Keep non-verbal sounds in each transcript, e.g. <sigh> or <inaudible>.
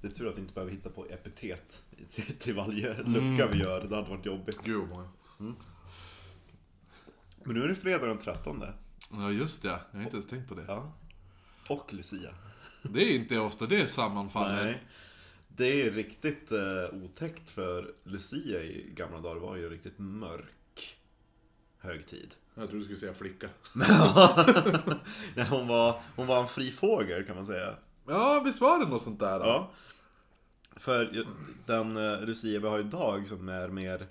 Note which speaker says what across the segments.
Speaker 1: Det är tur att vi inte behöver hitta på epitet till, till varje lucka vi gör. Det hade varit jobbigt.
Speaker 2: Gud vad många.
Speaker 1: Men nu är det fredag den 13.
Speaker 2: Ja just det, jag har inte ens tänkt på det.
Speaker 1: Ja. Och Lucia.
Speaker 2: Det är inte ofta det sammanfaller.
Speaker 1: Nej. Det är riktigt eh, otäckt för Lucia i gamla dagar var ju en riktigt mörk högtid. <laughs>
Speaker 2: Jag tror du skulle säga flicka.
Speaker 1: Nej, hon, var, hon var en fri fågel kan man säga.
Speaker 2: Ja, visst var det något sånt där? då?
Speaker 1: Ja. För ju- den eh, Lucia vi har idag som är mer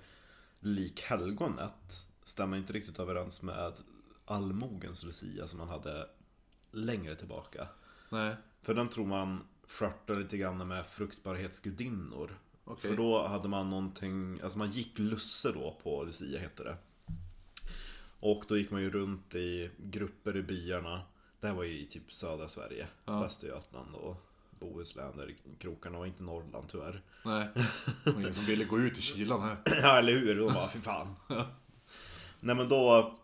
Speaker 1: lik helgonet stämmer inte riktigt överens med allmogens Lucia som man hade längre tillbaka.
Speaker 2: Nej.
Speaker 1: För den tror man flörtar lite grann med fruktbarhetsgudinnor.
Speaker 2: Okej.
Speaker 1: För då hade man någonting, alltså man gick lusse då på Lucia hette det. Och då gick man ju runt i grupper i byarna. Det här var ju i typ södra Sverige,
Speaker 2: Ja.
Speaker 1: Västergötland och Bohuslän, där krokarna var inte Norrland tyvärr.
Speaker 2: Nej. Det var ingen som ville gå ut i kylan här.
Speaker 1: Ja, eller hur? De bara, fy fan. Nej men då,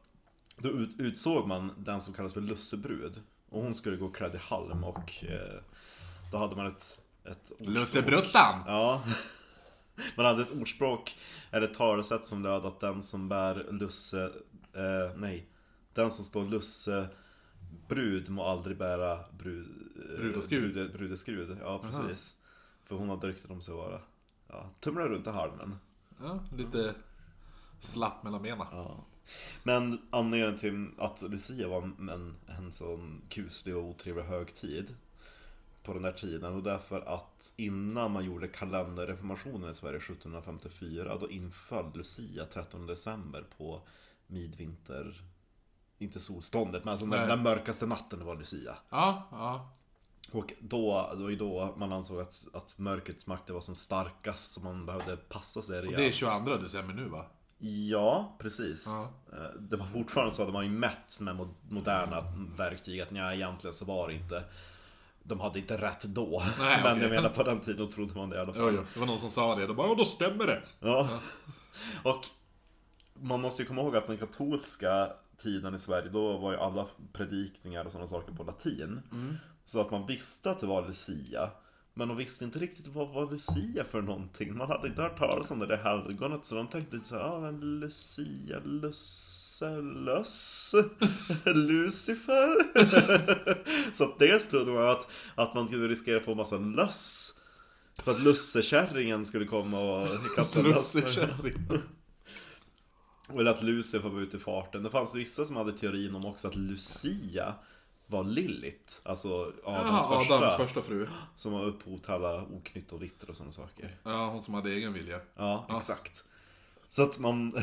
Speaker 1: då ut, utsåg man den som kallas för lussebrud. Och hon skulle gå klädd i halm och eh, då hade man ett... ett ordspråk.
Speaker 2: Lussebruttan!
Speaker 1: Ja. <laughs> Man hade ett ordspråk, eller ett talesätt som löd att den som bär lusse... Eh, nej. Den som står lusse brud må aldrig bära brud, eh,
Speaker 2: Brudaskrud.
Speaker 1: Brude, brudeskrud. Ja, precis. För hon hade rykten om sig att vara... Ja, tumlar runt i halmen.
Speaker 2: Ja, lite slapp mellan benen.
Speaker 1: Ja. Men anledningen till att Lucia var en, en sån kuslig och otrevlig högtid på den där tiden och därför att innan man gjorde kalenderreformationen i Sverige 1754 då inföll Lucia 13 december på midvinter inte solståndet men alltså
Speaker 2: Nej.
Speaker 1: den, den mörkaste natten var Lucia.
Speaker 2: Ja, ja.
Speaker 1: Och då, det var ju då man ansåg att, att mörkrets makt var som starkast så man behövde passa sig rejält.
Speaker 2: Och det är 22 december nu va?
Speaker 1: Ja, precis.
Speaker 2: Ja.
Speaker 1: Eh, Det var fortfarande så att de var ju mätt med mo- moderna verktyg att nej, egentligen så var det inte. De hade inte rätt då.
Speaker 2: Nej,
Speaker 1: <laughs> Men
Speaker 2: okej.
Speaker 1: jag menar på den tiden trodde man det i alla fall.
Speaker 2: Jo, jo. Det var någon som sa det. Då bara, "Ja, då stämmer det.
Speaker 1: Ja. Och man måste ju komma ihåg att den katolska tiden i Sverige, då var ju alla predikningar och sådana saker på latin. Så att man visste att det var Lucia. Men de visste inte riktigt vad var Lucia för någonting. Man hade inte hört talas om det där helgonet så de tänkte lite så här, ah, en Lucia, Lusse, Löss, <laughs> Lucifer. <laughs> så att dels trodde man att, att man kunde riskera att få en massa löss. För att lussekärringen skulle komma och kasta löss.
Speaker 2: Lussekärring.
Speaker 1: Och Eller att Lucifer var ute i farten. Det fanns vissa som hade teorin om också att Lucia var Lillit. Alltså Adams,
Speaker 2: Jaha,
Speaker 1: första,
Speaker 2: Adams första fru.
Speaker 1: Som var upphov till alla oknytt och vitter och sådana saker.
Speaker 2: Ja, hon som hade egen vilja.
Speaker 1: Ja,
Speaker 2: Ja.
Speaker 1: exakt. Så att man... <laughs>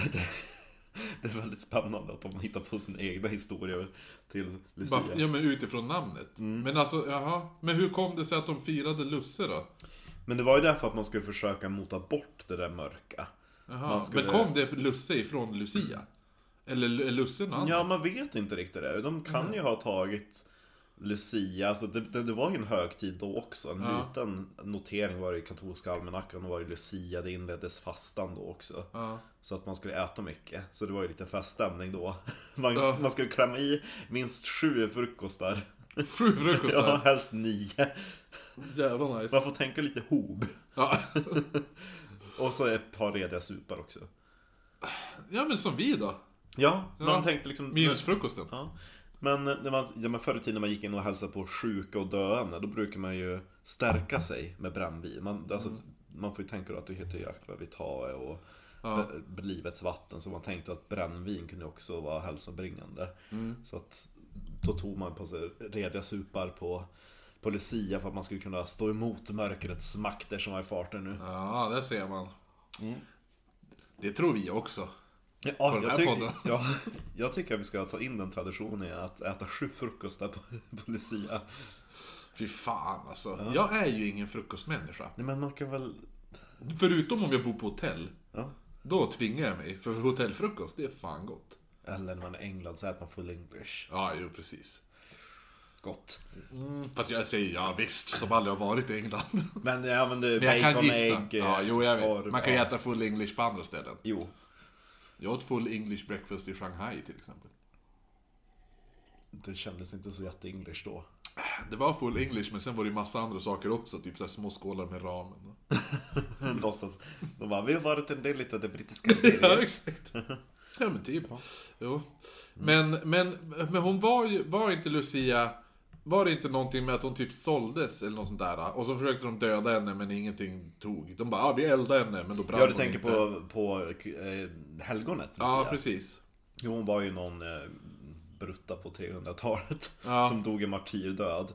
Speaker 1: Det, det är väldigt spännande att de hittar på sina egna historier till Lucia.
Speaker 2: Bara, ja, men utifrån namnet. Men alltså, jaha. Men hur kom det sig att de firade Lusse då?
Speaker 1: Men det var ju därför att man skulle försöka mota bort det där mörka.
Speaker 2: Jaha.
Speaker 1: Man skulle-
Speaker 2: Men kom det Lusse ifrån Lucia? Eller Lu- är Lusse någon
Speaker 1: Ja,
Speaker 2: annan?
Speaker 1: man vet inte riktigt det. De kan ju ha tagit Lucia, alltså det, det, det var ju en högtid då också. En
Speaker 2: Ja.
Speaker 1: liten notering var det i katolska almanackan och var det Lucia, det inleddes fastan då också.
Speaker 2: Ja.
Speaker 1: Så att man skulle äta mycket, så det var ju lite feststämning då. <laughs> Man,
Speaker 2: Ja.
Speaker 1: man skulle klämma i minst sju frukostar.
Speaker 2: Sju frukostar.
Speaker 1: <laughs> Ja, helst nio.
Speaker 2: Jävla nice.
Speaker 1: Man får tänka lite hob.
Speaker 2: Ja.
Speaker 1: Och så ett par rediga supar också.
Speaker 2: ja, men som vi då.
Speaker 1: Ja,
Speaker 2: Ja.
Speaker 1: man tänkte liksom...
Speaker 2: Minus frukosten.
Speaker 1: Ja. Men, när man, ja, men förr i tiden när man gick in och hälsade på sjuka och döende, då brukar man ju stärka sig med brännvin. Man,
Speaker 2: Mm.
Speaker 1: alltså, man får ju tänka då att det heter ju aqua vitae och
Speaker 2: Ja.
Speaker 1: b- livets vatten, så man tänkte att brännvin kunde också vara hälsobringande.
Speaker 2: Mm.
Speaker 1: Så att då tog man på sig rediga supar på, på Lucia för att man skulle kunna stå emot mörkrets makter som var i farten nu.
Speaker 2: Ja, där ser man.
Speaker 1: Mm.
Speaker 2: Det tror vi också.
Speaker 1: Ja,
Speaker 2: den här
Speaker 1: jag,
Speaker 2: podden.
Speaker 1: tyck, <laughs> ja, jag tycker att vi ska ta in den traditionen igen, att äta sju frukostar på, <laughs> på Lucia.
Speaker 2: Fy fan alltså. Jag är ju ingen frukostmänniska.
Speaker 1: Nej men man kan väl...
Speaker 2: Förutom om jag bor på hotell.
Speaker 1: Ja.
Speaker 2: Då tvingar jag mig. För hotellfrukost, det är fan gott.
Speaker 1: Eller när man är i England så äter man full English.
Speaker 2: Ja, jo precis.
Speaker 1: Gott.
Speaker 2: Fast jag säger ja visst, som aldrig har varit i England.
Speaker 1: Men jag använder
Speaker 2: Men jag kan
Speaker 1: bacon,
Speaker 2: gissa.
Speaker 1: ägg,
Speaker 2: Ja, jo, jag vet.
Speaker 1: korv,
Speaker 2: Man kan ju
Speaker 1: ja.
Speaker 2: äta full English på andra ställen.
Speaker 1: Jo.
Speaker 2: Jag åt full English breakfast i Shanghai till exempel.
Speaker 1: Det kändes inte så jätte-English då.
Speaker 2: Det var full english, men sen var det ju massa andra saker också. Typ så här små skålar med ramen.
Speaker 1: <laughs> Låtsas. De bara, vi har varit en del av det brittiska
Speaker 2: <laughs> Ja,
Speaker 1: imperiet.
Speaker 2: exakt. <laughs> Ja, men typ. Jo. Men, men, men hon var ju, var inte Lucia, var det inte någonting med att hon typ såldes eller något sånt där? Och så försökte de döda henne men ingenting tog. De bara, ah, vi eldar henne, men då brann
Speaker 1: Ja, du
Speaker 2: hon
Speaker 1: tänker
Speaker 2: inte.
Speaker 1: på, på eh, helgonet, som
Speaker 2: Ja,
Speaker 1: säger.
Speaker 2: precis.
Speaker 1: Jo, hon var ju någon eh, brutta på 300-talet
Speaker 2: Ja.
Speaker 1: <laughs> som dog en martyrdöd.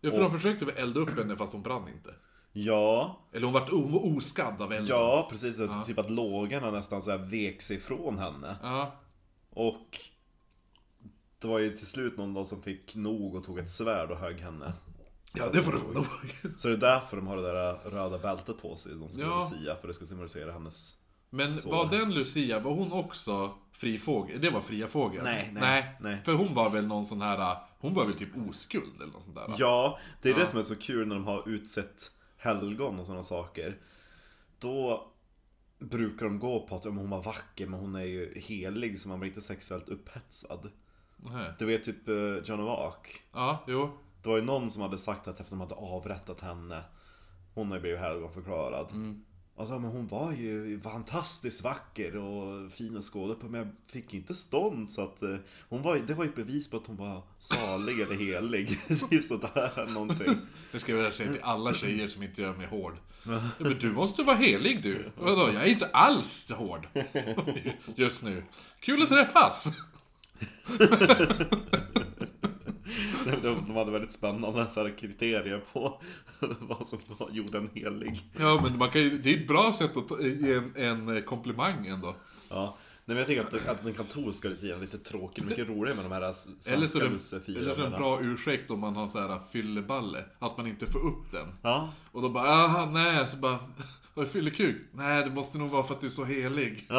Speaker 2: Ja, för
Speaker 1: Och-
Speaker 2: de försökte väl elda upp henne fast hon brann inte.
Speaker 1: Ja,
Speaker 2: Eller hon vart o- oskadd av elden.
Speaker 1: ja precis. Typ att lågorna nästan så här vek sig ifrån henne.
Speaker 2: Ja,
Speaker 1: Och det var ju till slut någon då som fick nog och tog ett svärd och högg henne.
Speaker 2: ja det får det vara nog.
Speaker 1: Så det är därför de har det där röda bältet på sig, de som
Speaker 2: Ja.
Speaker 1: ja. Lucia, för det ska symbolisera hennes...
Speaker 2: Men
Speaker 1: Så.
Speaker 2: var den Lucia, var hon också fri fågel? Det var fria fågeln?
Speaker 1: Nej, nej, nej.
Speaker 2: För hon var väl någon sån här, hon var väl typ oskuld eller något sånt där?
Speaker 1: Ja, det är det som är så kul när de har utsett helgon och sådana saker. Då brukar de gå på att ja, men hon var vacker, men hon är ju helig, så man blir inte sexuellt upphetsad.
Speaker 2: Nej.
Speaker 1: Du vet typ eh, Joan of Arc.
Speaker 2: Ja, jo.
Speaker 1: Det var ju någon som hade sagt att efter de hade avrättat henne Hon har ju blivit helgonförklarad
Speaker 2: Mm.
Speaker 1: Alltså men hon var ju fantastiskt vacker och fin och skådespelare Men jag fick inte stånd så att eh, hon var, ju- Det var ju ett bevis på att hon var salig eller helig <laughs> Typ sådär någonting
Speaker 2: Det ska jag vilja säga till alla tjejer som inte gör mig hård. Ja, Men du måste vara helig du. Vadå, jag är inte alls hård. <laughs> Just nu. Kul att träffas.
Speaker 1: de, de hade väldigt spännande så här, kriterier på <laughs> vad som var- gjorde en helig
Speaker 2: Ja, men man kan ju, det är ett bra sätt att ta- ge en, en komplimang ändå.
Speaker 1: Ja Nej, men jag tycker att, att den katolska lucian är lite tråkig, mycket roligare med de här svenska
Speaker 2: Eller så är det,
Speaker 1: lucifirarna.
Speaker 2: eller så är det en bra ursäkt om man har så här fylleballe. Att man inte får upp den.
Speaker 1: Ja,
Speaker 2: Och då bara, aha, nej, så bara, <laughs> har du fyllekuk? Nej, det måste nog vara för att du är så helig. <laughs>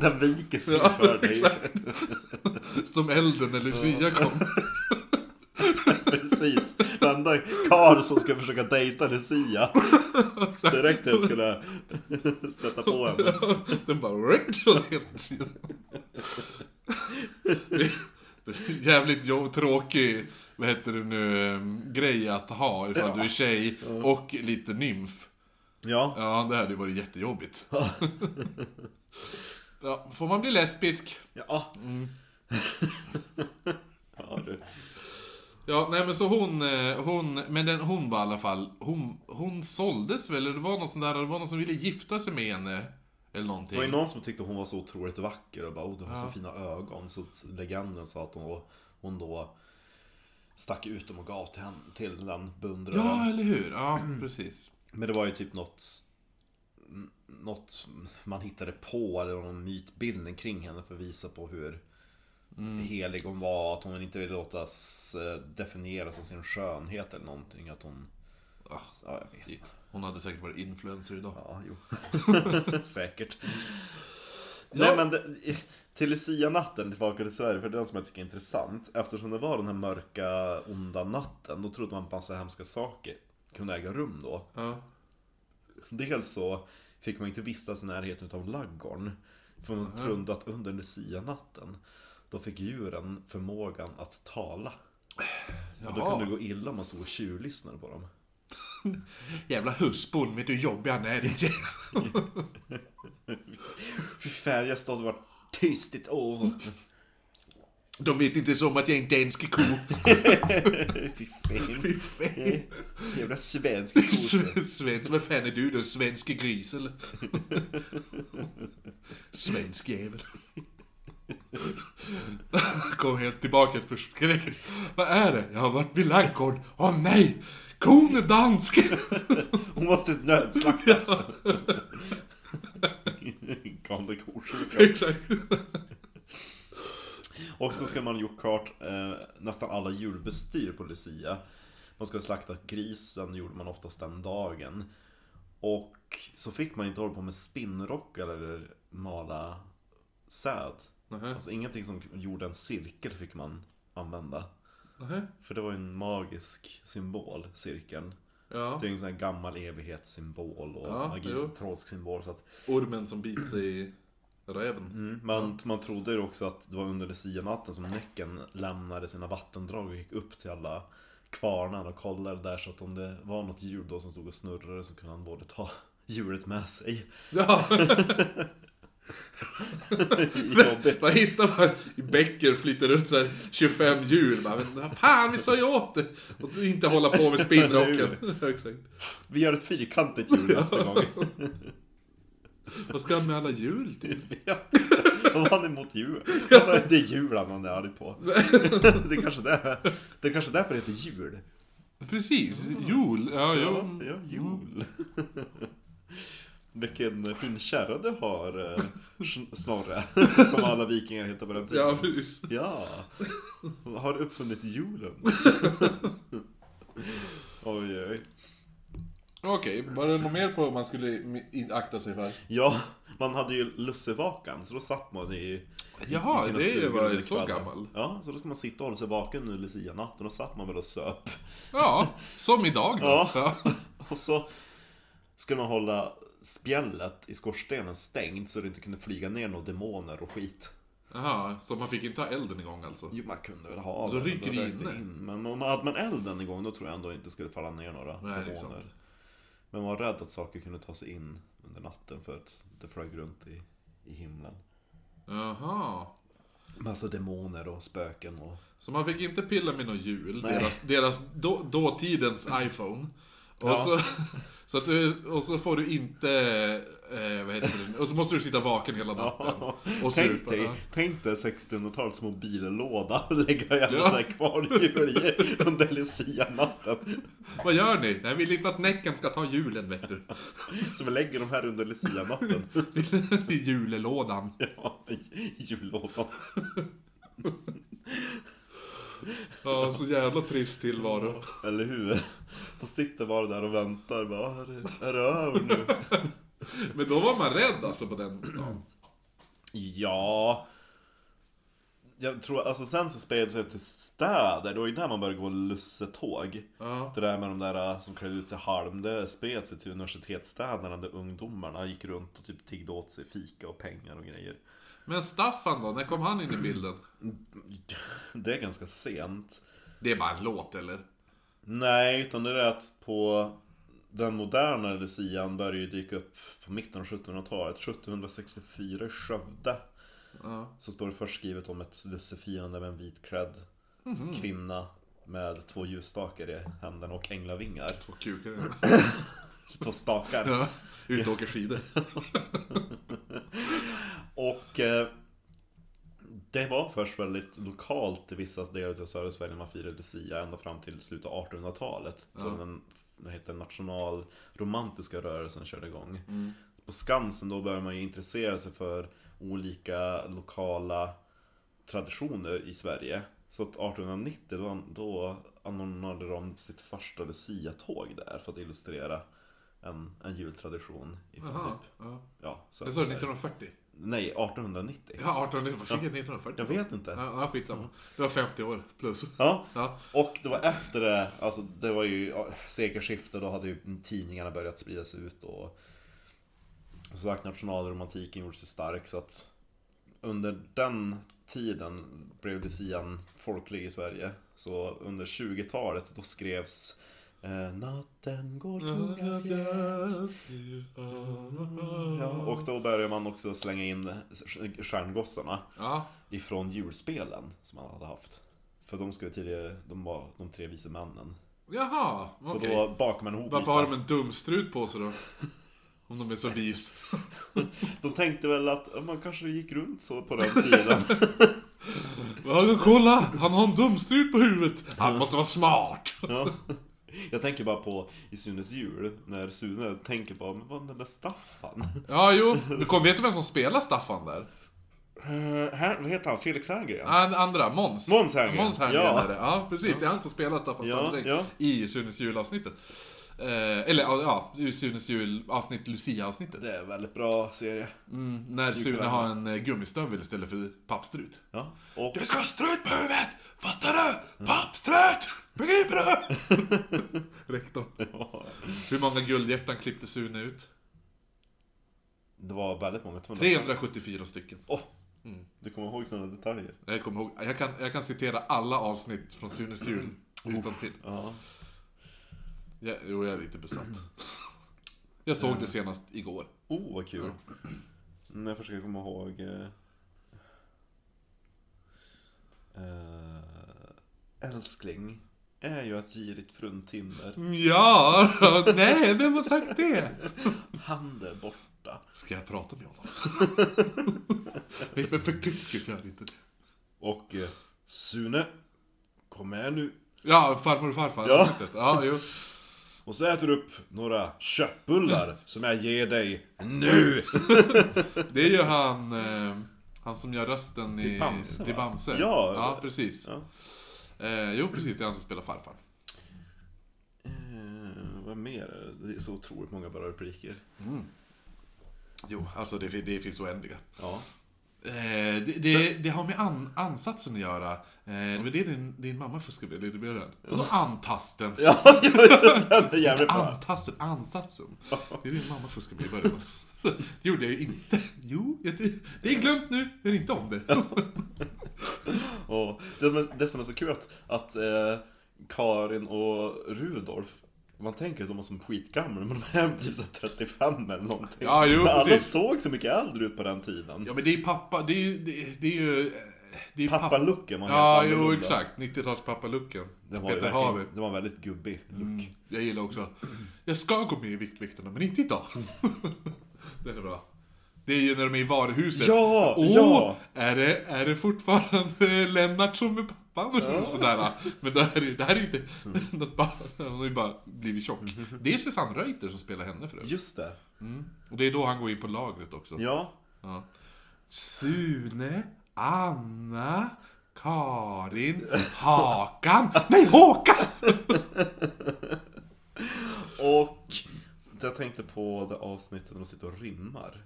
Speaker 1: den viker sig
Speaker 2: Ja,
Speaker 1: för dig
Speaker 2: exakt. Som elden när Lucia kom. <laughs>
Speaker 1: <laughs> Precis, varenda karl som ska försöka dejta Lucia Direkt när jag skulle sätta på henne
Speaker 2: Den bara, <laughs> "Rick", åt helt sidan. Det- det är Jävligt jobb, tråkig, vad heter det nu, ehm, grej att ha ifall du är tjej och lite nymf.
Speaker 1: Ja,
Speaker 2: Ja, det hade ju varit jättejobbigt. <laughs> Ja, får man bli lesbisk?
Speaker 1: ja <laughs> Ja du
Speaker 2: Ja, nej men så hon, eh, hon, men den, hon var i alla fall, hon, hon såldes väl? Eller det var någon sån där, det var någon som ville gifta sig med henne. Eller
Speaker 1: Det var ju
Speaker 2: någonting.
Speaker 1: någon som tyckte hon var så otroligt vacker och bara oh, du har så fina ögon Så legenden sa att hon, hon då stack ut dem och gav till, henne, till den beundraren
Speaker 2: Ja, eller hur? Ja,
Speaker 1: Mm.
Speaker 2: precis.
Speaker 1: Men det var ju typ något n- Något man hittade på eller någon mytbildning kring henne för att visa på hur Helig hon var, att hon inte ville låtas eh, definieras av sin skönhet eller någonting att hon
Speaker 2: Ah.
Speaker 1: Ja, jag vet
Speaker 2: Hon hade säkert varit influencer idag.
Speaker 1: Ja, jo Säkert Nej men det, till Lucia-natten tillbaka till Sverige, för det är den som jag tycker är intressant Eftersom det var den här mörka, onda natten, då trodde man på massa hemska saker kunde äga rum då
Speaker 2: Ja.
Speaker 1: Dels så fick man inte vistas i närheten av laggorn För man trodde att under Lucia-natten Då fick djuren förmågan att tala Och då kunde
Speaker 2: Jaha.
Speaker 1: det gå illa om man stod och tjuvlyssnade på dem
Speaker 2: Jävla husbond, vet du hur jobbig han är? <laughs>
Speaker 1: Fy fan, jag stod och var tyst i ett år
Speaker 2: De vet inte ens om att jag är en dansk ko. <laughs>
Speaker 1: Fy fan, jävla svensk kosse
Speaker 2: Svensk, vad fan är du då? Svensk gris eller? Svensk jävel. Kom helt tillbaka förskräckt. Vad är det? Jag har varit vid laggården. Åh nej! Kon är dansk! <laughs>
Speaker 1: Hon måste nödslaktas Galne korsjuka
Speaker 2: Exakt.
Speaker 1: Och så ska man ha gjort klart eh, nästan alla julbestyr på Lucia. Man ska ha slaktat grisen, gjorde man oftast den dagen. Och så fick man inte hålla på med spinnrockar eller mala säd.
Speaker 2: Nähä,
Speaker 1: Alltså ingenting som gjorde en cirkel fick man använda.
Speaker 2: nähä.
Speaker 1: För det var ju en magisk symbol, cirkeln.
Speaker 2: Ja.
Speaker 1: Det är en sån här gammal evighetssymbol och
Speaker 2: Ja,
Speaker 1: magi,
Speaker 2: jo.
Speaker 1: trollsk symbol. Så att
Speaker 2: Ormen som biter sig i... Räven.
Speaker 1: Mm. Man, man trodde ju också att det var under Lucia-natten som Näcken lämnade sina vattendrag och gick upp till alla kvarnar och kollade där så att om det var något djur då som stod och snurrade så kunde han både ta <laughs> djuret med sig.
Speaker 2: Ja,
Speaker 1: I jobbet.
Speaker 2: man hittar bara i bäcker flyter runt så här 25 djur. Bara, men vad fan, vi sa ju åt det! Och inte hålla på med spinnrocken. Ja, Exakt.
Speaker 1: Vi gör ett fyrkantigt djur nästa gång. <laughs>
Speaker 2: Vad ska han med alla djur till?
Speaker 1: Om han är mot djur. Han är- Det är julen han är arg på. <laughs> Det är kanske det. Det är kanske därför det heter jul.
Speaker 2: Precis, jul. Ja, jo.
Speaker 1: ja jul.
Speaker 2: Mm.
Speaker 1: <laughs> Vilken fin kärra du har,
Speaker 2: <laughs>
Speaker 1: eh, Sn- Snorre. <laughs> Som alla vikingar heter på den tiden.
Speaker 2: Ja, precis.
Speaker 1: Ja. Har uppfunnit
Speaker 2: <laughs>
Speaker 1: julen. Oj, oj.
Speaker 2: Okej, var det något mer på vad man skulle i- akta sig för?
Speaker 1: Ja, man hade ju lussevakan, så då satt man i i
Speaker 2: Jaha,
Speaker 1: sina
Speaker 2: det är ju
Speaker 1: stugor
Speaker 2: bara
Speaker 1: under
Speaker 2: så
Speaker 1: kvällen.
Speaker 2: gammal.
Speaker 1: Ja, så då ska man sitta och hålla sig vaken nu Lucia-natten. Då satt man väl och söp.
Speaker 2: Ja, som idag då.
Speaker 1: Ja.
Speaker 2: Ja.
Speaker 1: <laughs> Och så skulle man hålla spjället i skorstenen stängt så det inte kunde flyga ner några demoner och skit.
Speaker 2: Jaha, så man fick inte ha elden igång alltså?
Speaker 1: Jo, man kunde väl ha
Speaker 2: Då
Speaker 1: den,
Speaker 2: ryker det
Speaker 1: rökte
Speaker 2: inne.
Speaker 1: Men om man hade man elden igång då tror jag ändå inte skulle falla ner några
Speaker 2: det är
Speaker 1: demoner.
Speaker 2: sant.
Speaker 1: Men man var rädd att saker kunde ta sig in under natten för att det flög runt i, i himlen.
Speaker 2: Jaha.
Speaker 1: Massa demoner och spöken och...
Speaker 2: Så man fick inte pilla med någon jul,
Speaker 1: Nej.
Speaker 2: deras, deras då, dåtidens iPhone. Och,
Speaker 1: Ja.
Speaker 2: så, <laughs> så att du, och så får du inte, eh, vad heter det, och så måste du sitta vaken hela natten. Och
Speaker 1: tänk,
Speaker 2: supa.
Speaker 1: dig,
Speaker 2: Ja.
Speaker 1: tänk dig 1600-talets mobillåda och lägga jävla
Speaker 2: Ja.
Speaker 1: ja. kvarnhjul i under Lucia-natten.
Speaker 2: Vad gör ni? Nej, vi vill inte att Näcken ska ta julen vet du. <laughs>
Speaker 1: Så vi lägger de här under Lucia-natten.
Speaker 2: I julelådan.
Speaker 1: Ja, i jullådan.
Speaker 2: Ja, så jävla trist tillvaro.
Speaker 1: Eller hur? De sitter bara där och väntar. Bara, "Ah, är, det, är det över nu?
Speaker 2: Men då var man rädd alltså på den dagen.
Speaker 1: Ja... Jag tror, alltså sen så spred det sig till städer. Det var ju där man började gå lussetåg.
Speaker 2: Ja.
Speaker 1: Det där med de där äh, som klädde ut sig i halm, det spred sig till universitetsstäderna där ungdomarna gick runt och typ tiggde åt sig fika och pengar och grejer.
Speaker 2: Men Staffan då, när kom han in i bilden?
Speaker 1: Det är ganska sent.
Speaker 2: Det är bara en låt eller?
Speaker 1: Nej, utan det är att på den moderna lucian började ju dyka upp på mitten av 1700-talet. 1764 i Skövde
Speaker 2: Ja.
Speaker 1: så står det först skrivet om ett lussefirande med en vitklädd kvinna med två ljusstakar i händerna och änglavingar.
Speaker 2: Två kukar.
Speaker 1: Två stakar.
Speaker 2: <laughs> Ja. Ute och åker skidor.
Speaker 1: Och eh, det var först väldigt lokalt i vissa delar av södra Sverige när man firade Lucia ända fram till slutet av 1800-talet. Då den vad heter, det, nationalromantiska rörelsen körde igång.
Speaker 2: Mm.
Speaker 1: På Skansen då började man ju intressera sig för olika lokala traditioner i Sverige. Så att 1890 då, då anordnade de sitt första Lucia-tåg där för att illustrera en, en jultradition. Ifrån
Speaker 2: Jaha.
Speaker 1: typ,
Speaker 2: Ja.
Speaker 1: ja,
Speaker 2: Jag
Speaker 1: södra
Speaker 2: sa
Speaker 1: Sverige.
Speaker 2: 1940.
Speaker 1: Nej, 1890.
Speaker 2: Ja, 1890. Vad fick jag 1940?
Speaker 1: Jag vet inte.
Speaker 2: Ja, ja, skitsamma. Det var 50 år plus.
Speaker 1: Ja,
Speaker 2: Ja.
Speaker 1: och det var efter det, alltså det var ju ja, sekelskiftet, då hade ju tidningarna börjat spridas ut och och som sagt nationalromantiken gjorde sig stark så att under den tiden blev lucian folklig i Sverige. Så under 20-talet då skrevs eh, Natten går tunga fjär Ja, och då började man också slänga in stjärngossarna.
Speaker 2: Ja,
Speaker 1: ifrån julspelen som han hade haft. För de skulle tidigare, de var de tre vise männen.
Speaker 2: jaha.
Speaker 1: Så
Speaker 2: Okej.
Speaker 1: då bakar man ihop
Speaker 2: Varför
Speaker 1: bitar.
Speaker 2: har de en dumstrut på sig då? Om de är så vis.
Speaker 1: De tänkte väl att ja, man kanske gick runt så på den <laughs> tiden.
Speaker 2: Ja, kolla! Han har en dumstrut på huvudet! Han måste vara smart!
Speaker 1: ja. Jag tänker bara på i Sunes jul, när Sune tänker på, men vad är den där Staffan?
Speaker 2: Ja, jo. Du kom, vet du vem som spelar Staffan där?
Speaker 1: Eh, här, vad heter han? Felix Herngren?
Speaker 2: Ah, Den andra, Måns.
Speaker 1: Måns Herngren.
Speaker 2: Måns Herngren
Speaker 1: Ja.
Speaker 2: är det. Ja, precis. Det är han som spelar Staffan
Speaker 1: Ja,
Speaker 2: Strandberg
Speaker 1: ja.
Speaker 2: i Sunes julavsnittet. Eh, eller ja, i Sunes julavsnitt, Lucia-avsnittet.
Speaker 1: Det är en väldigt bra serie.
Speaker 2: Mm, när Sune har en eh, gummistövel istället för pappstrut.
Speaker 1: Ja. Och,
Speaker 2: ska ha strut på huvudet! Fattar du? Pappstrut! Begriper <laughs> du? Rektorn. Hur många guldhjärtan klippte Sune ut?
Speaker 1: det var var väldigt många. 200.
Speaker 2: 374 stycken.
Speaker 1: Åh! Du kommer ihåg sådana detaljer?
Speaker 2: Jag kommer ihåg, jag kan, jag kan citera alla avsnitt från Sunes jul utan till.
Speaker 1: Ja.
Speaker 2: Ja, jo, jag är lite besatt. Jag såg det senast igår.
Speaker 1: Oh, vad kul. Mm, jag försöker komma ihåg... Eh, eh, älskling, är ju att ge ditt fruntimmer.
Speaker 2: Ja, <laughs> nej, vem har sagt det?
Speaker 1: Han där borta.
Speaker 2: Ska jag prata med honom? <laughs> Nej, men för guds skull, gör inte det.
Speaker 1: Och eh, Sune, kom med nu.
Speaker 2: Ja, farmor och farfar.
Speaker 1: Ja.
Speaker 2: avsnittet. ja jo.
Speaker 1: Och så äter du upp några köttbullar som jag ger dig nu. Eh,
Speaker 2: Det är ju han, eh, han som gör rösten i...
Speaker 1: Till Bamse,
Speaker 2: till
Speaker 1: va?
Speaker 2: Bamse.
Speaker 1: Ja.
Speaker 2: ja, precis.
Speaker 1: Ja.
Speaker 2: Eh, jo, precis, det är han som spelar farfar.
Speaker 1: Eh, vad mer? Det är så otroligt många bra repliker.
Speaker 2: Jo, alltså det, fin- det finns oändliga.
Speaker 1: Ja. <laughs>
Speaker 2: Eh, det, det, det har med an, ansatsen att göra. Eh, det är det din, din mamma fuskar med lite mer än. Vadå antasten?
Speaker 1: Ja, den är jävligt bra.
Speaker 2: Antasten, ansatsen. Det är din mamma fuskar med i början. <laughs> Så, Det gjorde jag ju inte. Jo, jag, det är glömt nu. Jag vet inte om det.
Speaker 1: Och det, som är- det som är så kul att, att eh, Karin och Rudolf man tänker att de var som skitgamla, men de är typ så här 35 eller någonting.
Speaker 2: Ja, jo,
Speaker 1: Men alla
Speaker 2: precis.
Speaker 1: såg så mycket äldre ut på den tiden.
Speaker 2: Ja, men det är pappa. Det är ju... Det, det är ju... eh, Det är pappa.
Speaker 1: Pappalucken var
Speaker 2: Ja,
Speaker 1: helt
Speaker 2: jo
Speaker 1: annorlunda.
Speaker 2: exakt. 90-talspappa-looken.
Speaker 1: Den var, ju
Speaker 2: Peter
Speaker 1: verkligen-
Speaker 2: Mm. Haver.
Speaker 1: den var en väldigt gubbig look.
Speaker 2: Jag gillar också... Jag ska gå med i Viktväktarna, men inte idag. <laughs> det är bra. Det är ju när de är i varuhuset.
Speaker 1: Ja,
Speaker 2: Åh,
Speaker 1: ja.
Speaker 2: Är, det, är det fortfarande <laughs> Lennart som är pappan? Och <laughs> sådär. Men det här är, det här är inte <laughs> något barn. Hon har ju bara blivit tjock. Det är Susanne Reuter som spelar henne för övrigt.
Speaker 1: Just det.
Speaker 2: Och det är då han går in på lagret också.
Speaker 1: Ja.
Speaker 2: Ja. Sune, Anna, Karin, Hakan. Nej, Håkan!
Speaker 1: Och jag tänkte på det avsnittet när de sitter och rimmar.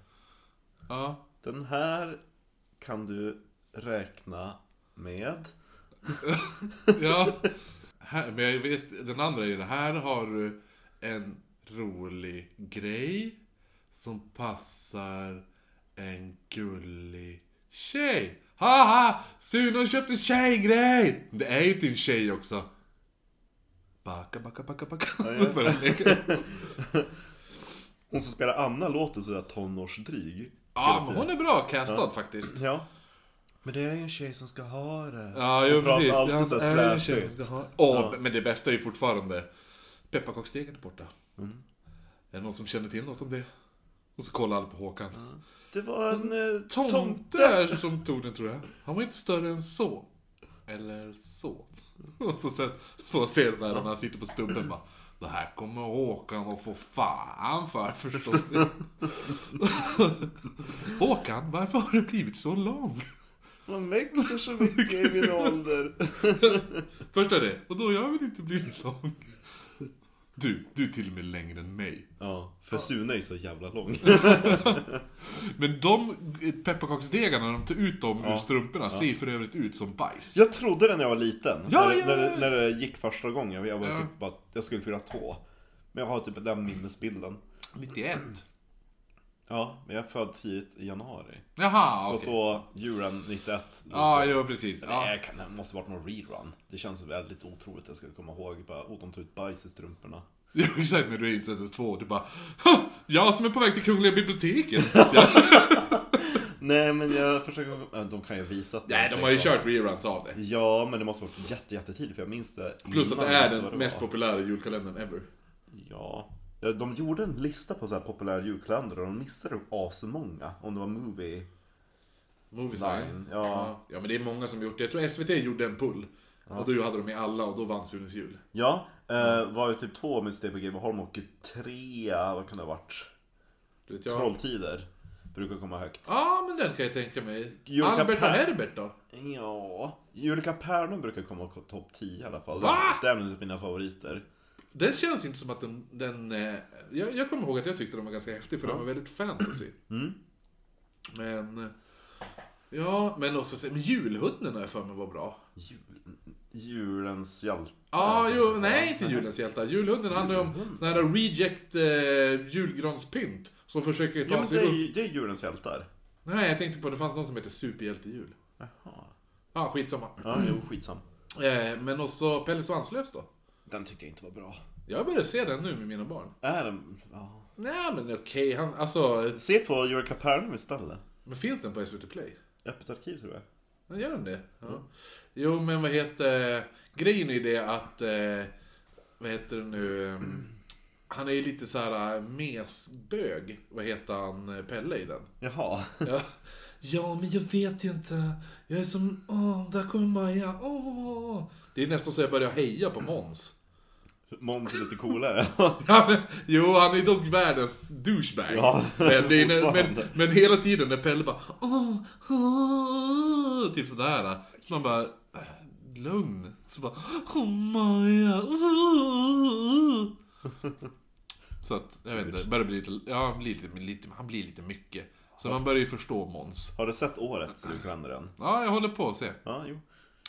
Speaker 2: Ja.
Speaker 1: Den här kan du räkna med.
Speaker 2: Ja. Här, men jag vet, den andra är ju det här har du en rolig grej som passar en gullig tjej. Haha! Sune har köpt en tjejgrej! Det är ju till en tjej också. Backa, backa, backa, backa.
Speaker 1: ja.
Speaker 2: <laughs> För att leka.
Speaker 1: Hon som spelar Anna låter sådär tonårsdryg.
Speaker 2: ja, men hon är bra castad faktiskt.
Speaker 1: Ja. Men det är ju en tjej som ska ha det.
Speaker 2: Ja, jo
Speaker 1: Hon pratar
Speaker 2: precis.
Speaker 1: alltid så här
Speaker 2: Ja, är en tjej
Speaker 1: släpigt.
Speaker 2: som ska ha- Åh, men det bästa är ju fortfarande pepparkaksdegen är borta. Är det någon som känner till något om det? Och så kollar alla på Håkan.
Speaker 1: Det var en eh,
Speaker 2: Tomte,
Speaker 1: tom...
Speaker 2: som tog den tror jag. Han var inte större än så. Eller så. Och så sen får man se det där när han sitter på stubben bara. Det här kommer Håkan att få fan för förstår ni. <laughs> Håkan, varför har du blivit så lång?
Speaker 1: Man växer så mycket i min
Speaker 2: <laughs>
Speaker 1: ålder.
Speaker 2: Först är det, och då jag vill inte bli för lång. Du, du är till och med längre än mig.
Speaker 1: Ja, för Sune är ju så jävla lång.
Speaker 2: Men de eh, pepparkaksdegarna, när de tar ut dem ur strumporna, ser för övrigt ut som bajs.
Speaker 1: Jag trodde det när jag var liten.
Speaker 2: Ja,
Speaker 1: när,
Speaker 2: ja,
Speaker 1: när,
Speaker 2: ja.
Speaker 1: det- när det gick första gången. Jag, var
Speaker 2: Ja.
Speaker 1: typ bara, jag skulle fylla två. Men jag har typ den minnesbilden.
Speaker 2: 91.
Speaker 1: Ja, men jag är född tidigt i januari.
Speaker 2: Jaha,
Speaker 1: Så
Speaker 2: okej.
Speaker 1: att då, julen 91. då
Speaker 2: Ja,
Speaker 1: ska-
Speaker 2: jo precis.
Speaker 1: Nej,
Speaker 2: Ja. <laughs>
Speaker 1: jag kan, det måste varit någon rerun. Det känns väldigt otroligt att jag skulle komma ihåg. Bara, oh, de tog ut bajs i strumporna.
Speaker 2: Jo, exakt när du är insett två, du bara "Ha, Jag som är på väg till Kungliga
Speaker 1: <laughs>
Speaker 2: biblioteket. ja.
Speaker 1: Nej, men jag försöker... äh, De kan ju visa att...
Speaker 2: Nej, de har ju kört reruns av det.
Speaker 1: Ja, men det måste ha varit jätte, jättetidigt för jag minns det.
Speaker 2: Plus att det
Speaker 1: innan jag
Speaker 2: är
Speaker 1: visste vad
Speaker 2: den mest
Speaker 1: var.
Speaker 2: populära julkalendern ever.
Speaker 1: Ja. Ja, De gjorde en lista på så här populära julkalendrar och de missade asmånga. Om det var movie...
Speaker 2: Movie
Speaker 1: Line, ja.
Speaker 2: ja, men det är många som gjort det. Jag tror SVT gjorde en pull. Och då hade de med alla och då vann Sunes jul.
Speaker 1: Ja, eh, var ju typ två med Stay på Gameholm och tre, vad kan det ha varit?
Speaker 2: Du vet, jag...
Speaker 1: Trolltider. Brukar komma högt.
Speaker 2: Ja, men den kan jag tänka mig.
Speaker 1: Julka
Speaker 2: Albert och
Speaker 1: Per.
Speaker 2: Herbert då?
Speaker 1: Ja, Julika Pärnon brukar komma på topp 10 i alla fall.
Speaker 2: Va?
Speaker 1: Den är typ mina favoriter.
Speaker 2: Den känns inte som att den... den eh, jag, jag kommer ihåg att jag tyckte den var ganska häftig för den var väldigt fantasy.
Speaker 1: Mm.
Speaker 2: Men... eh, Ja, men också se, men julhunden har jag för mig var bra.
Speaker 1: Jul, julens hjälte.
Speaker 2: Ja, jo,
Speaker 1: Mm.
Speaker 2: nej inte julens hjältar. Julhunden handlar ju om sån här reject eh, julgranspynt. Som försöker ta
Speaker 1: Ja men
Speaker 2: sig
Speaker 1: det är,
Speaker 2: upp.
Speaker 1: ju- det är djurens hjältar.
Speaker 2: Nej, jag tänkte på det fanns någon som heter Superhjältejul.
Speaker 1: Jaha.
Speaker 2: Ja, ah, skitsamma.
Speaker 1: Ja, jo skitsam.
Speaker 2: Eh, men också Pelle Svanslös då.
Speaker 1: Den tyckte jag inte var bra.
Speaker 2: Jag börjar se den nu med mina barn.
Speaker 1: Är den... Ja.
Speaker 2: Nej men okej, han, alltså,
Speaker 1: Se på Euro Capernaum istället.
Speaker 2: men finns den på SVT Play?
Speaker 1: Öppet arkiv tror jag.
Speaker 2: Ja, gör den det? Ja. Jo, men vad heter... Grejen är det att... Eh, vad heter det nu? eh, Han är ju lite så här eh, mesbög. Vad heter han? eh, Pelle i den.
Speaker 1: Jaha.
Speaker 2: Ja, ja men jag vet ju inte. Jag är som... Åh, där kommer Maja. Åh. Det är nästan så jag börjar heja på Måns.
Speaker 1: Måns är lite coolare. <laughs>
Speaker 2: Ja, men- jo, han är dock världens douchebag.
Speaker 1: Ja,
Speaker 2: men, det är,
Speaker 1: fortfarande.
Speaker 2: men, men hela tiden när Pelle bara åh, åh, Typ sådär. Så man bara "Äh, Lugn. Så bara "Oh Åh Maja. åh." Så att, jag vet inte. Börjar bli lite, ja, han, blir lite, lite, han blir lite mycket. Så man börjar ju förstå Måns.
Speaker 1: Har du sett årets julkalender än?
Speaker 2: Ja, jag håller på att se.
Speaker 1: Ja, jo.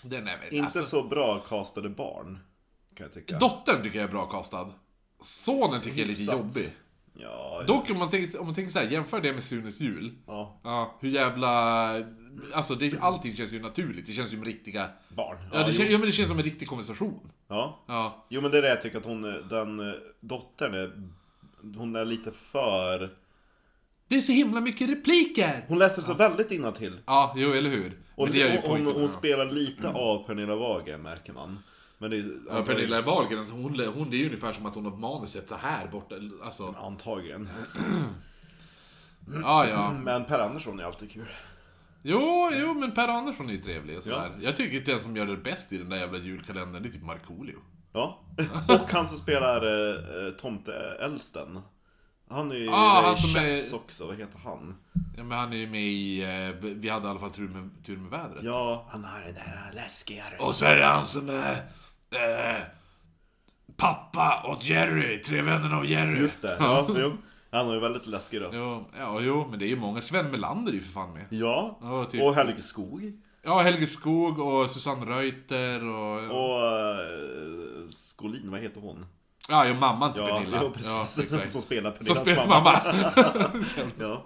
Speaker 2: Den är väl,
Speaker 1: Inte
Speaker 2: alltså,
Speaker 1: så bra castade barn. Kan jag tycka.
Speaker 2: Dottern tycker jag är bra kastad. Sonen tycker jag är lite
Speaker 1: Hyfsat.
Speaker 2: jobbig.
Speaker 1: Ja,
Speaker 2: Dock om man tänker, om man tänker så här, jämför det med Sunes jul.
Speaker 1: ja.
Speaker 2: Ja, hur jävla... Alltså det, allting känns ju naturligt, det känns ju som riktiga...
Speaker 1: Barn.
Speaker 2: Ja,
Speaker 1: Ja,
Speaker 2: det,
Speaker 1: jo.
Speaker 2: kän, ja men det känns som en riktig konversation.
Speaker 1: ja.
Speaker 2: Ja.
Speaker 1: Jo men det är det jag tycker att hon, den eh, dottern är, hon är lite för...
Speaker 2: Det är så himla mycket repliker!
Speaker 1: Hon läser så väldigt innantill.
Speaker 2: Ja, jo eller hur.
Speaker 1: Och
Speaker 2: men det gör ju
Speaker 1: hon, hon,
Speaker 2: pojken. Mm.
Speaker 1: hon spelar lite av Pernilla Wagen märker man. Men det är
Speaker 2: Ja, Pernilla Wahlgren, alltså, hon, hon det är ju ungefär som att hon har manuset så här borta. Alltså,
Speaker 1: Antagligen.
Speaker 2: ja ja.
Speaker 1: Men Per Andersson är alltid kul.
Speaker 2: Jo, jo men Per Andersson är ju trevlig och sådär.
Speaker 1: Ja.
Speaker 2: Jag tycker att den som gör det bäst i den där jävla julkalendern, det är typ Markoolio.
Speaker 1: Ja.
Speaker 2: <laughs>
Speaker 1: Och han som spelar eh, eh, tomteälsten. Han är ju med
Speaker 2: Ah, han
Speaker 1: i
Speaker 2: som är-
Speaker 1: Chess också, vad heter han?
Speaker 2: Ja men han är ju med i... eh, Vi hade i alla fall tur med, tur med vädret.
Speaker 1: Ja, han har den där läskiga
Speaker 2: Och
Speaker 1: rösten.
Speaker 2: så är det han som är... Eh, pappa åt Jerry, Tre vännerna och Jerry.
Speaker 1: Just det, ja, jo. Han har ju väldigt läskig röst. Ja,
Speaker 2: Jo, ja, jo, men det är ju många. Sven Melander är ju för fan med. Ja, typ.
Speaker 1: och Helge Skog.
Speaker 2: Ja, Helge Skog och Susanne Reuter och...
Speaker 1: Och eh, Skolin, vad heter hon?
Speaker 2: Ja, ja, mamman till
Speaker 1: Ja,
Speaker 2: Pernilla.
Speaker 1: jo, <laughs> precis.
Speaker 2: exakt.
Speaker 1: som spelar
Speaker 2: Som
Speaker 1: Pernillas
Speaker 2: spelar
Speaker 1: mamma.
Speaker 2: mamma.
Speaker 1: Ja.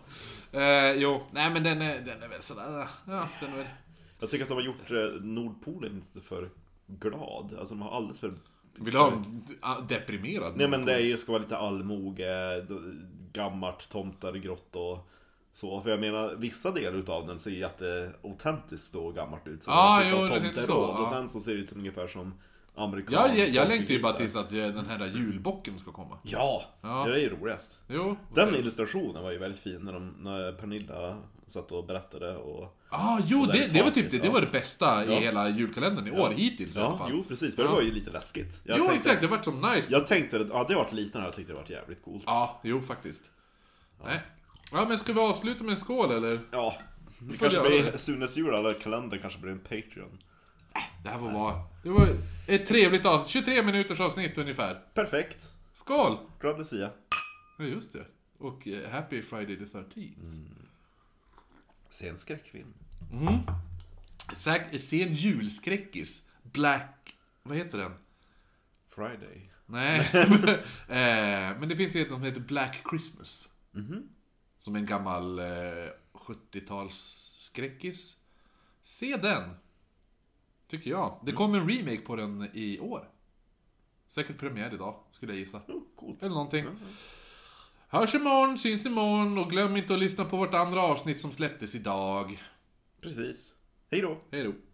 Speaker 2: eh, jo, nej men den är, den är väl sådär... Ja, den är väl...
Speaker 1: Jag tycker att de har gjort eh, Nordpolen lite för glad. Alltså de har alldeles för...
Speaker 2: Vill du ha en ah, deprimerad?
Speaker 1: Nej men det är ju- ska vara lite allmoge, d- gammalt, tomtar, grått och så. För jag menar, vissa delar utav den ser ju jätteautentiskt och gammalt ut. Så
Speaker 2: Ah,
Speaker 1: de sitter
Speaker 2: jo,
Speaker 1: och
Speaker 2: det är inte
Speaker 1: tomteråd.
Speaker 2: så, ja.
Speaker 1: Och sen så ser det ut ungefär som amerikan.
Speaker 2: Ja, jag, jag längtar ju
Speaker 1: portugis
Speaker 2: bara
Speaker 1: här.
Speaker 2: tills att eh, den här julbocken ska komma.
Speaker 1: Ja,
Speaker 2: Ja.
Speaker 1: det är ju roligast.
Speaker 2: Jo.
Speaker 1: Den illustrationen var ju väldigt fin när, de, när Pernilla satt och berättade och...
Speaker 2: Ah, jo,
Speaker 1: Och där
Speaker 2: det,
Speaker 1: i
Speaker 2: det var
Speaker 1: taket,
Speaker 2: typ det, det
Speaker 1: ja.
Speaker 2: var det bästa i
Speaker 1: Ja.
Speaker 2: hela julkalendern i år hittills i alla
Speaker 1: Ja,
Speaker 2: fall.
Speaker 1: jo
Speaker 2: Jo,
Speaker 1: precis. För
Speaker 2: Ja.
Speaker 1: det var ju lite läskigt. Jag tänkte,
Speaker 2: exakt, det vart så nice. Ja,
Speaker 1: Jag tänkte, att- ja, hade jag varit liten hade jag tyckt det varit jävligt coolt.
Speaker 2: jo faktiskt. Nej. Ja, men ska vi avsluta med en skål eller?
Speaker 1: Ja. Det
Speaker 2: får
Speaker 1: kanske
Speaker 2: göra
Speaker 1: blir,
Speaker 2: det.
Speaker 1: Sunes jul eller kalender kanske blir en Patreon.
Speaker 2: Det här får vara... Det var ett trevligt avsnitt, 23 minuters avsnitt ungefär.
Speaker 1: Perfekt.
Speaker 2: Skål!
Speaker 1: Glad lucia.
Speaker 2: Ja, just det. Och eh, happy Friday the 13th.
Speaker 1: Mm. Se en skräckfilm.
Speaker 2: Säk, se en julskräckis. Black... Vad heter den?
Speaker 1: Friday.
Speaker 2: Nej. <laughs> eh, men det finns ju ett som heter Black Christmas. Som är en gammal eh, 70-talsskräckis. Se den! Tycker jag. Det kom en remake på den i år. Säkert premiär idag, skulle jag gissa.
Speaker 1: Oh, coolt.
Speaker 2: Eller någonting. Hörs imorgon, syns imorgon och glöm inte att lyssna på vårt andra avsnitt som släpptes idag.
Speaker 1: Precis. Hej då.
Speaker 2: Hej då!